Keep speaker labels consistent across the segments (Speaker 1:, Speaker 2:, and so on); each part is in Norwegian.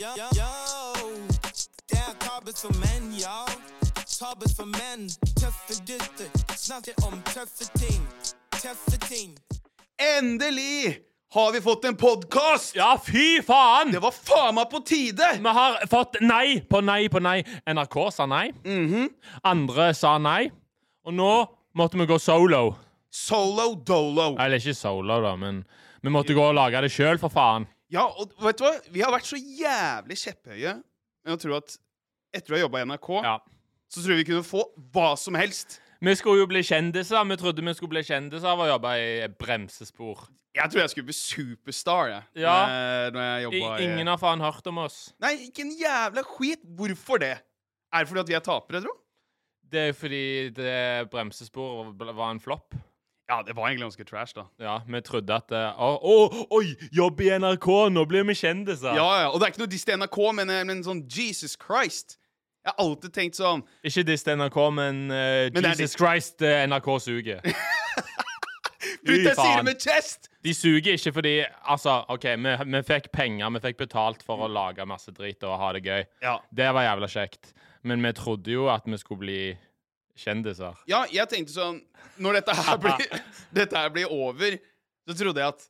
Speaker 1: Yo, yo, yo. Det er kabet for menn, yo. Tabet for menn. Tøffe gutter. Snakker om tøffe ting. Tøffe ting.
Speaker 2: Endelig har vi fått en podkast!
Speaker 3: Ja, fy faen!
Speaker 2: Det var faen meg på tide!
Speaker 3: Vi har fått nei på nei på nei. NRK sa nei.
Speaker 2: Mhm.
Speaker 3: Andre sa nei. Og nå måtte vi gå solo.
Speaker 2: Solo dolo.
Speaker 3: Eller ikke solo, da, men vi måtte gå og lage det sjøl, for faen.
Speaker 2: Ja, og vet du hva? Vi har vært så jævlig kjepphøye med å tro at etter å ha jobba i NRK,
Speaker 3: Ja.
Speaker 2: så tror jeg vi kunne få hva som helst.
Speaker 3: Vi skulle jo bli kjendiser. Vi trodde vi skulle bli kjendiser av å jobbe i bremsespor.
Speaker 2: Jeg tror jeg skulle bli superstar, jeg.
Speaker 3: Ja.
Speaker 2: eh, Når jeg
Speaker 3: I,
Speaker 2: jobbet i-
Speaker 3: ingen har faen hørt om oss.
Speaker 2: Nei, ikke en jævla skit. Hvorfor det? Er det fordi at vi er tapere, tro?
Speaker 3: Det er jo fordi det bremsesporet ble- var en flopp.
Speaker 2: Ja, det var egentlig ganske trash, da.
Speaker 3: Ja, vi trodde at eh, Å, å, oi! Jobb i NRK! Nå blir vi kjendiser!
Speaker 2: Ja, ja, Og det er ikke noe diss til NRK, men, eh, men sånn Jesus Christ. Jeg har alltid tenkt sånn
Speaker 3: Ikke diss til NRK, men, eh,
Speaker 2: Men det er
Speaker 3: Jesus Christ, eh, NRK suger.
Speaker 2: Ut, jeg sier det
Speaker 3: faen.
Speaker 2: med chest!
Speaker 3: De suger ikke fordi Altså, OK, vi, vi fikk penger, vi fikk betalt for å lage masse drit og ha det gøy.
Speaker 2: Ja.
Speaker 3: Det var jævla kjekt. Men vi trodde jo at vi skulle bli kjendiser.
Speaker 2: Ja, jeg tenkte sånn Når dette her blir, dette her blir over, så trodde jeg at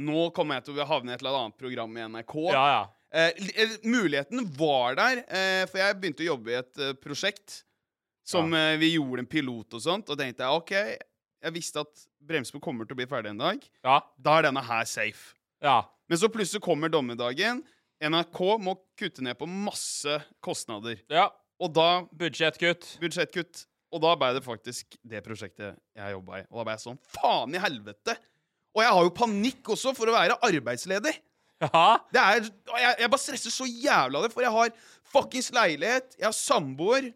Speaker 2: nå kommer jeg til å havne i et eller annet program i NRK.
Speaker 3: Ja, ja.
Speaker 2: Eh, li- eh, muligheten var der, eh, for jeg begynte å jobbe i et eh, prosjekt som
Speaker 3: Ja.
Speaker 2: eh, vi gjorde en pilot og sånt, og tenkte jeg OK, jeg visste at Bremsbo kommer til å bli ferdig en dag.
Speaker 3: Ja.
Speaker 2: Da er denne her safe.
Speaker 3: ja.
Speaker 2: Men så plutselig kommer dommedagen. NRK må kutte ned på masse kostnader.
Speaker 3: ja.
Speaker 2: Og da
Speaker 3: Budsjettkutt.
Speaker 2: budsjettkutt. Og da ble det faktisk det prosjektet jeg jobba i. Og da ble jeg sånn faen i helvete! Og jeg har jo panikk også for å være arbeidsledig.
Speaker 3: Ja.
Speaker 2: Det er, og jeg, jeg bare stresser så jævla av det, for jeg har fuckings leilighet, jeg har samboer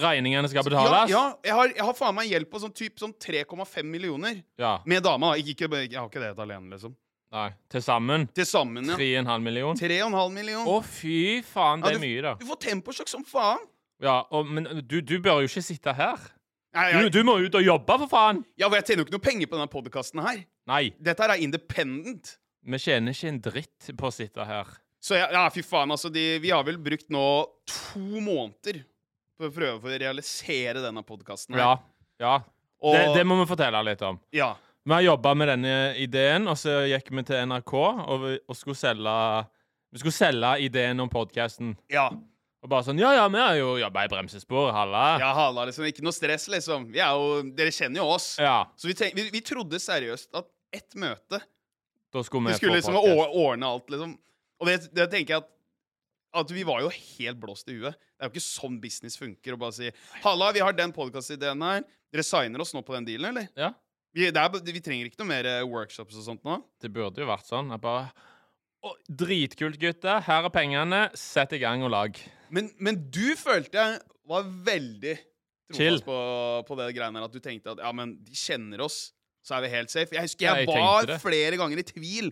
Speaker 3: Regningene skal
Speaker 2: ja,
Speaker 3: betales.
Speaker 2: ja, jeg, har, jeg har faen meg hjelp på sånn typ sånn 3,5 millioner.
Speaker 3: Ja.
Speaker 2: Med dama. da. Ikke, ikke, jeg har ikke det helt alene, liksom.
Speaker 3: Nei. Til sammen
Speaker 2: Til sammen, ja.
Speaker 3: 3,5 million.
Speaker 2: 3,5 million.
Speaker 3: Å, fy faen,
Speaker 2: Ja,
Speaker 3: det er mye, da.
Speaker 2: Du får temposjokk som faen.
Speaker 3: Ja, og, men du, du bør jo ikke sitte her.
Speaker 2: Nei,
Speaker 3: Du,
Speaker 2: jeg,
Speaker 3: du må ut og jobbe, for faen!
Speaker 2: Ja, for jeg tjener jo ikke noe penger på denne podkasten her.
Speaker 3: Nei.
Speaker 2: Dette her er independent.
Speaker 3: Vi tjener ikke en dritt på å sitte her.
Speaker 2: Så ja, ja fy faen, altså. De, vi har vel brukt nå to måneder på å prøve for å realisere denne podkasten.
Speaker 3: Ja. ja.
Speaker 2: Og,
Speaker 3: Det, det må vi fortelle litt om.
Speaker 2: ja.
Speaker 3: Vi har jobba med denne ideen, og så gikk vi til NRK og, vi- og skulle selge Vi skulle selge ideen om podkasten.
Speaker 2: Ja.
Speaker 3: Og bare sånn Ja, ja, vi har jo jobba i bremsespor, halla.
Speaker 2: ja halla, liksom. Ikke noe stress, liksom. Vi er jo, dere kjenner jo oss.
Speaker 3: Ja,
Speaker 2: Så vi, tenk, vi, vi trodde seriøst at ett møte
Speaker 3: Da skulle vi
Speaker 2: Det skulle
Speaker 3: få
Speaker 2: liksom
Speaker 3: podcast.
Speaker 2: å- ordne alt, liksom. Og det, det tenker jeg at at Vi var jo helt blåst i huet. Det er jo ikke sånn business funker. Å bare si 'Halla, vi har den podkastideen her. Dere signer oss nå på den dealen, eller?'
Speaker 3: Ja.
Speaker 2: Vi, det er, b- vi trenger ikke noe mer eh, workshops og sånt nå.
Speaker 3: Det burde jo vært sånn. Jeg bare å, Dritkult, gutter. Her er pengene. Sett i gang og lag.
Speaker 2: Men, men du følte jeg var veldig
Speaker 3: Chill.
Speaker 2: trofast på, på det greiene her. At du tenkte at ja, men de kjenner oss, så er vi helt safe. Jeg husker
Speaker 3: Ja,
Speaker 2: jeg,
Speaker 3: jeg tenkte
Speaker 2: var
Speaker 3: det.
Speaker 2: flere ganger i tvil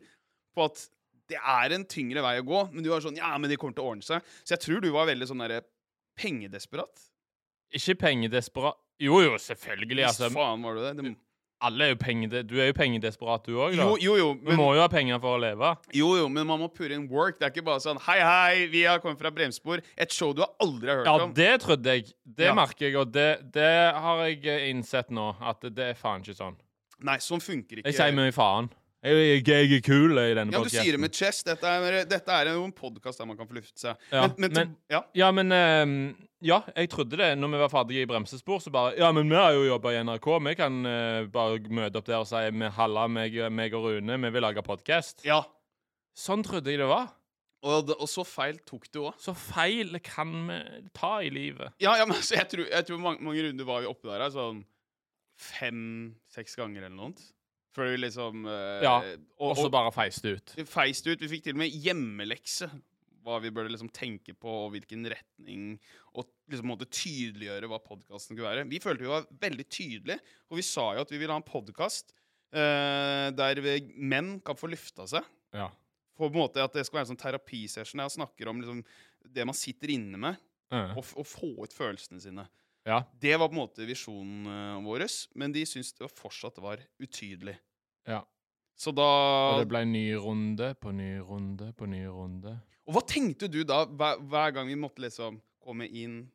Speaker 2: på at det er en tyngre vei å gå. Men du var sånn ja, men de kommer til å ordne seg. Så jeg tror du var veldig sånn derre pengedesperat.
Speaker 3: Ikke pengedesperat Jo, jo, selvfølgelig.
Speaker 2: Visst
Speaker 3: Altså,
Speaker 2: faen var du det. det
Speaker 3: alle er jo pengede... Du er jo pengedesperat, du òg, da.
Speaker 2: jo, jo, jo,
Speaker 3: Vi
Speaker 2: men,
Speaker 3: må jo ha penger for å leve.
Speaker 2: jo, jo, men man må purre inn work. Det er ikke bare sånn hei, hei, vi har kommet fra Bremsspor. Et show du har aldri har hørt
Speaker 3: Ja,
Speaker 2: om.
Speaker 3: det trodde jeg. Det
Speaker 2: Ja.
Speaker 3: merker jeg, og det, det har jeg eh, innsett nå. At det, det er faen ikke sånn.
Speaker 2: Nei, sånn funker ikke.
Speaker 3: Jeg sier mye faen. Jeg, jeg, jeg er kul i denne
Speaker 2: Ja, du sier det
Speaker 3: podcasten.
Speaker 2: med chest. Dette er, dette er jo en podkast der man kan få luftet seg.
Speaker 3: Ja,
Speaker 2: men, men, til-
Speaker 3: men-
Speaker 2: ja.
Speaker 3: Ja, men eh, Ja, jeg trodde det. Når vi var ferdige i bremsespor, så bare Ja, men vi har jo jobba i NRK. Vi kan eh, bare møte opp der og si «Vi- Halla, meg, meg og Rune, vi vil lage podkast.
Speaker 2: ja.
Speaker 3: Sånn trodde jeg det var.
Speaker 2: Og, d- og så feil tok du òg.
Speaker 3: Så feil kan vi ta i livet.
Speaker 2: Ja, ja, men altså, jeg tror, jeg tror mange, mange runder var vi oppe der her, sånn fem-seks ganger eller noe sånt. Før vi liksom eh,
Speaker 3: Ja, Og
Speaker 2: Og,
Speaker 3: så
Speaker 2: og,
Speaker 3: bare feiste ut.
Speaker 2: feist ut. Vi fikk til og med hjemmelekse. Hva vi burde liksom tenke på, og hvilken retning. Og liksom måtte tydeliggjøre hva podkasten skulle være. Vi følte vi var veldig tydelige, og vi sa jo at vi ville ha en podkast der vi, menn kan få lufta seg.
Speaker 3: Ja.
Speaker 2: på en måte at det skal være en sånn terapisession der jeg snakker om liksom, det man sitter inne med,
Speaker 3: Eh,
Speaker 2: og, f og få ut følelsene sine.
Speaker 3: Ja.
Speaker 2: Det var på en måte visjonen eh, vår, men de syntes det var fortsatt var utydelig.
Speaker 3: Ja.
Speaker 2: Så da
Speaker 3: Og det ble ny runde på ny runde på ny runde.
Speaker 2: Og hva tenkte du da hver, hver gang vi måtte liksom komme inn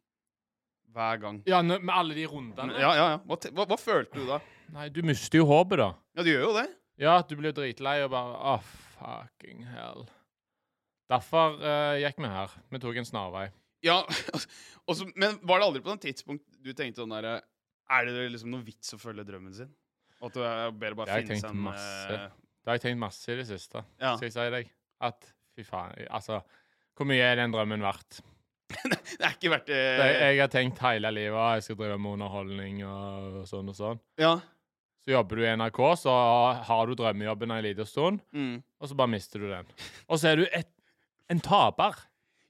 Speaker 2: hver gang?
Speaker 3: Ja, nå- med alle de rundene.
Speaker 2: Ja, ja, ja. Hva, te- hva, hva følte du da?
Speaker 3: Nei, du mister jo håpet, da.
Speaker 2: Ja, du gjør jo det.
Speaker 3: Ja, du blir dritlei og bare Å, fucking hell. Derfor eh, gikk vi her. Vi tok en snarvei.
Speaker 2: Ja, og så- Men var det aldri på noe tidspunkt du tenkte sånn derre Er det liksom noe vits å følge drømmen sin? At du er bedre bare
Speaker 3: Jeg har
Speaker 2: finne
Speaker 3: tenkt
Speaker 2: seg en
Speaker 3: masse.
Speaker 2: eh,
Speaker 3: Det har jeg tenkt masse i det siste,
Speaker 2: Ja.
Speaker 3: skal jeg si deg. At fy faen Altså, hvor mye er den drømmen verdt?
Speaker 2: Det er ikke verdt eh, det.
Speaker 3: Jeg, jeg har tenkt hele livet at jeg skal drive med underholdning og, og sånn og sånn.
Speaker 2: Ja.
Speaker 3: Så jobber du i NRK, så har du drømmejobben en liten stund,
Speaker 2: Mm.
Speaker 3: og så bare mister du den. Og så er du et, en taper.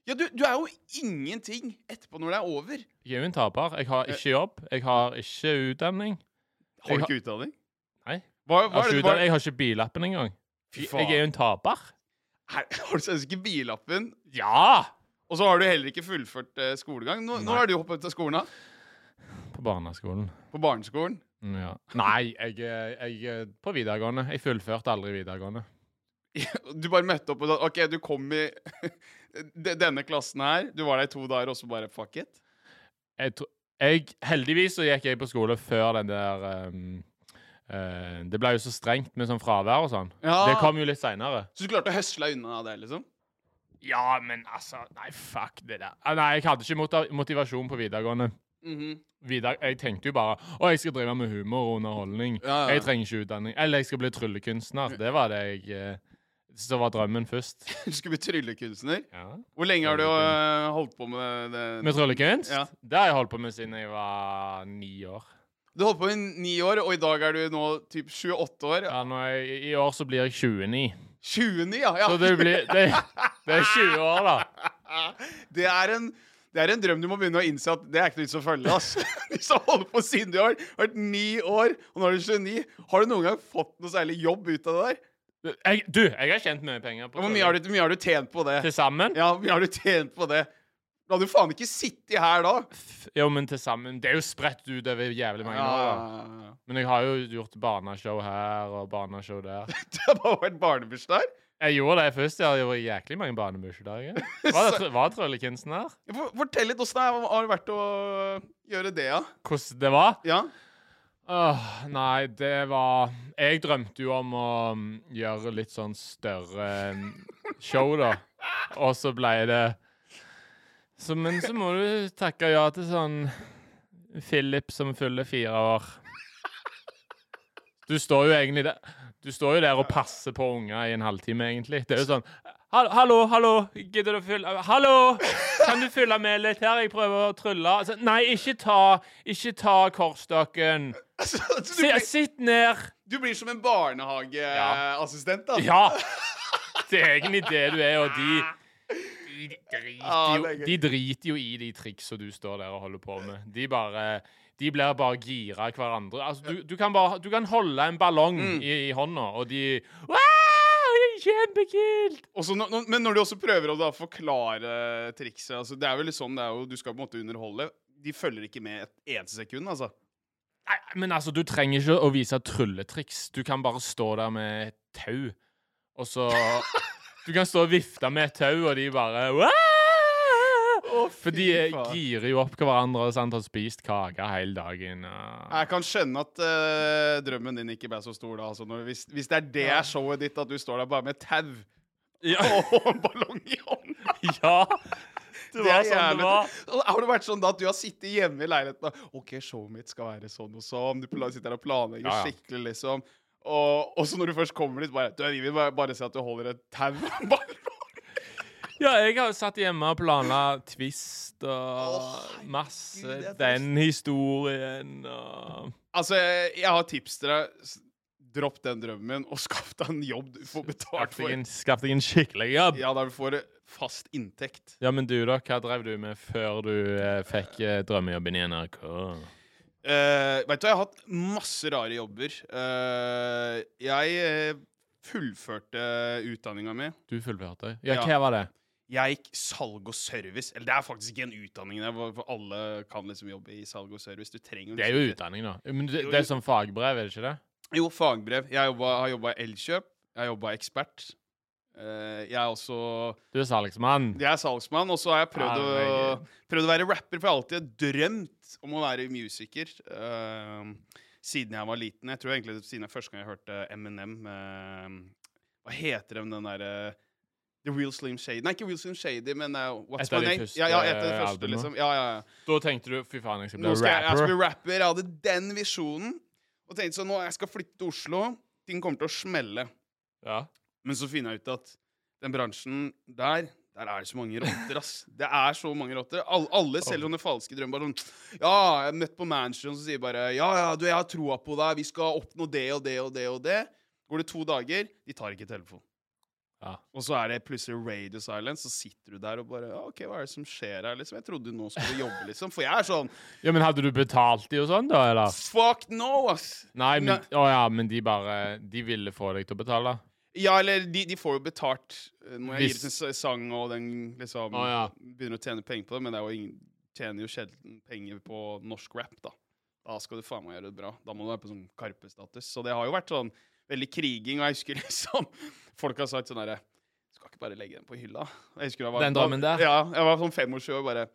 Speaker 2: ja du, du er jo ingenting etterpå når det er over.
Speaker 3: Jeg er jo en taper. Jeg har ikke jobb. Jeg har ikke utdanning.
Speaker 2: Har
Speaker 3: Jeg
Speaker 2: du
Speaker 3: har-
Speaker 2: ikke utdanning?
Speaker 3: Nei.
Speaker 2: Hva,
Speaker 3: Jeg
Speaker 2: hva
Speaker 3: har
Speaker 2: er det,
Speaker 3: ikke,
Speaker 2: hva,
Speaker 3: utdanning. Jeg har ikke billappen engang.
Speaker 2: Fy
Speaker 3: Jeg,
Speaker 2: faen.
Speaker 3: jeg er jo en taper.
Speaker 2: Her, har du seriøst ikke billappen?
Speaker 3: Ja!
Speaker 2: Og så har du heller ikke fullført eh, skolegang. Nå, nå
Speaker 3: Nei.
Speaker 2: har du hoppet ut av skolen, da.
Speaker 3: På barneskolen.
Speaker 2: På barneskolen.
Speaker 3: Mm, Ja. Nei, jeg, er- jeg er på videregående. Jeg fullførte aldri videregående.
Speaker 2: Du bare møtte opp og sa OK, du kom i de- denne klassen her. Du var der i to dager, og så bare fuck it.
Speaker 3: Jeg, tro- jeg, heldigvis så gikk jeg på skole før den der um, eh, Det ble jo så strengt med sånn fravær og sånn.
Speaker 2: Ja.
Speaker 3: Det kom jo litt seinere.
Speaker 2: Så du klarte å høsle deg unna det, liksom?
Speaker 3: Ja, men altså Nei, fuck det der. Ah, Nei, jeg hadde ikke mota- motivasjon på videregående.
Speaker 2: Mhm.
Speaker 3: Videre, jeg tenkte jo bare å, jeg skal drive med humor og underholdning.
Speaker 2: Ja, ja.
Speaker 3: Jeg trenger ikke utdanning. Eller jeg skal bli tryllekunstner. Det var det jeg eh, Så var drømmen først.
Speaker 2: Du skulle bli tryllekunstner.
Speaker 3: Ja.
Speaker 2: Hvor lenge har du eh, holdt på med det?
Speaker 3: Med tryllekunst?
Speaker 2: Ja.
Speaker 3: Det har jeg holdt på med siden jeg var ni år.
Speaker 2: Du holdt på i ni år, og i dag er du nå typ 28 år.
Speaker 3: Ja, nå er jeg, I år så blir jeg 29.
Speaker 2: 29, ja! ja.
Speaker 3: Så det blir Det, det er 20 år, da.
Speaker 2: Det er en det er en drøm du må begynne å innse at det er ikke noe vits å følge. ass. Hvis du har holdt på siden du har vært ni år, og nå er du 29, har du noen gang fått noe særlig jobb ut av det der?
Speaker 3: Jeg, du, jeg har tjent mye penger på
Speaker 2: Hvor mye har du, hvor mye har du tjent på det?
Speaker 3: Til sammen?
Speaker 2: Ja, hvor mye har du tjent på det? Da hadde du faen ikke sittet her da.
Speaker 3: Jo, men til sammen Det er jo spredt utover jævlig mange år, da.
Speaker 2: Ja.
Speaker 3: Men jeg har jo gjort barneshow her og barneshow der.
Speaker 2: Det har bare vært barnebursdag.
Speaker 3: Jeg gjorde det først. Jeg hadde vært jæklig mange barnebursdager. Var, det tr- var tryllekunstner?
Speaker 2: For- Fortell litt åssen det er- har det vært å gjøre det, ja.
Speaker 3: Hvordan det var?
Speaker 2: ja.
Speaker 3: Åh, nei, det var Jeg drømte jo om å mm, gjøre litt sånn større mm, show, da. Og så ble det så, Men så må du takke ja til sånn Philip som fyller fire år. Du står jo egentlig der Du står jo der og passer på unger i en halvtime, egentlig. Det er jo sånn «Hall- Hallo, hallo, gidder du å fylle Hallo! Kan du fylle med litt her? Jeg prøver å trylle. Altså, nei, ikke ta Ikke ta kortstokken.
Speaker 2: Altså, du,
Speaker 3: Si-
Speaker 2: blir,
Speaker 3: sitt ned!
Speaker 2: du blir som en barnehageassistent, da.
Speaker 3: Ja! Det er egentlig det du er, og de de driter,
Speaker 2: Ah,
Speaker 3: jo,
Speaker 2: det er gøy.
Speaker 3: de driter jo i de triksa du står der og holder på med. De bare De blir bare gira av hverandre. Altså, du, du, kan bare, du kan holde en ballong
Speaker 2: Mm.
Speaker 3: i, i hånda, og de Wow! Det er kjempekult!
Speaker 2: Og så når- når- men når du også prøver å da forklare trikset altså Det er vel litt sånn det er jo, du skal på en måte underholde. De følger ikke med et eneste sekund, altså.
Speaker 3: Nei, men altså, du trenger ikke å vise trylletriks. Du kan bare stå der med et tau, og så Du kan stå og vifte med et tau, og de bare
Speaker 2: Å,
Speaker 3: «Wow!»
Speaker 2: fy
Speaker 3: For de eh,
Speaker 2: faen.
Speaker 3: girer jo opp hverandre og sant, har spist kake hele dagen. Og...
Speaker 2: Jeg kan skjønne at eh, drømmen din ikke ble så stor, da. Altså, når, hvis, hvis det er det er showet ditt, at du står der bare med tau
Speaker 3: Ja,
Speaker 2: og en ballong i hånda
Speaker 3: ja! Det
Speaker 2: er
Speaker 3: var sånn
Speaker 2: jævlig.
Speaker 3: det var.
Speaker 2: Og Har det vært sånn da at du har sittet hjemme i leiligheten og OK, showet mitt skal være sånn og sånn. Du pla- sitter der og planlegger
Speaker 3: Ja, ja.
Speaker 2: skikkelig, liksom. Og, og så når du først kommer dit, bare Du, vi vil bare, bare se at du holder et tau og en ballong.
Speaker 3: Ja, jeg har jo satt hjemme og planla twist
Speaker 2: Å,
Speaker 3: og
Speaker 2: herregud,
Speaker 3: masse
Speaker 2: jeg tror-
Speaker 3: Den historien og
Speaker 2: Altså, jeg, jeg har tips til deg. S- Dropp den drømmen min, og skaff deg en jobb du får betalt
Speaker 3: Skaff deg
Speaker 2: for.
Speaker 3: en- Skaff deg en skikkelig jobb.
Speaker 2: Ja, der du får fast inntekt.
Speaker 3: Ja, men du da, hva drev du med før du eh, fikk eh, drømmejobben i NRK?
Speaker 2: Eh, vet du, hva, jeg har hatt masse rare jobber. Eh, jeg eh, fullførte utdanninga mi.
Speaker 3: Du fullførte. Ja,
Speaker 2: Ja.
Speaker 3: hva var det?
Speaker 2: Jeg gikk salg og service. Eller det er faktisk ikke en utdanning, der, hvor- for alle kan liksom jobbe i salg og service. Du trenger
Speaker 3: Det
Speaker 2: liksom
Speaker 3: er jo
Speaker 2: ikke-
Speaker 3: utdanning, da. Men det, det er som fagbrev, er det ikke det?
Speaker 2: Jo, fagbrev. Jeg jobba, har jobba i Elkjøp. Jeg har jobba i Ekspert. Eh, jeg er også
Speaker 3: Du er salgsmann.
Speaker 2: Jeg er salgsmann, og så har jeg prøvd å,
Speaker 3: Ah, Herregud.
Speaker 2: prøvd å være rapper, for jeg har alltid drømt om å være musiker. eh, siden jeg var liten. Jeg tror egentlig det- siden jeg første gang jeg hørte Eminem eh, Hva heter den, den derre The Real Slim Shady Nei, ikke Real Slim Shady, men eh, What's
Speaker 3: Et
Speaker 2: My
Speaker 3: av de
Speaker 2: Name?
Speaker 3: første
Speaker 2: Ja,
Speaker 3: eh,
Speaker 2: ja, et av de første,
Speaker 3: albumene.
Speaker 2: liksom. Ja, ja, ja.
Speaker 3: Da tenkte du fy faen, jeg skal bli
Speaker 2: Nå skal jeg, jeg skal
Speaker 3: rapper.
Speaker 2: bli rapper. Jeg hadde den visjonen. Og tenkte sånn, nå jeg skal flytte til Oslo. Ting kommer til å smelle.
Speaker 3: Ja.
Speaker 2: Men så finner jeg ut at den bransjen der der er det så mange rotter, ass. Det er så mange rotter. Alle, alle selger sånne falske drømmer. Bare sånn Ja, jeg er møtt på mansion som sier bare Ja, ja, du, jeg har troa på deg. Vi skal oppnå det og det og det og det. Går det to dager, de tar ikke telefonen.
Speaker 3: Ja.
Speaker 2: Og så er det plutselig radio silence, så sitter du der og bare ja, OK, hva er det som skjer her, liksom? Jeg trodde nå skulle jobbe, liksom. For jeg er sånn
Speaker 3: ja, men hadde du betalt de og sånn, da, eller?
Speaker 2: Fuck no, ass!
Speaker 3: Nei, men,
Speaker 2: Nei.
Speaker 3: Å ja, men de bare De ville få deg til å betale?
Speaker 2: Ja, eller de, de får jo betalt eh, når jeg
Speaker 3: Hvis-
Speaker 2: gir ut en s- sang, og den liksom
Speaker 3: Å, ja.
Speaker 2: begynner å tjene penger på det, men det er jo ingen, tjener jo sjelden penger på norsk rap, da. Da skal du faen meg gjøre det bra. Da må du være på sånn Karpe-status. Så det har jo vært sånn veldig kriging, og jeg husker liksom folk har sagt sånn herre Skal ikke bare legge den på hylla? Jeg husker jeg var,
Speaker 3: Den drømmen der?
Speaker 2: Ja, jeg var sånn 25 år og bare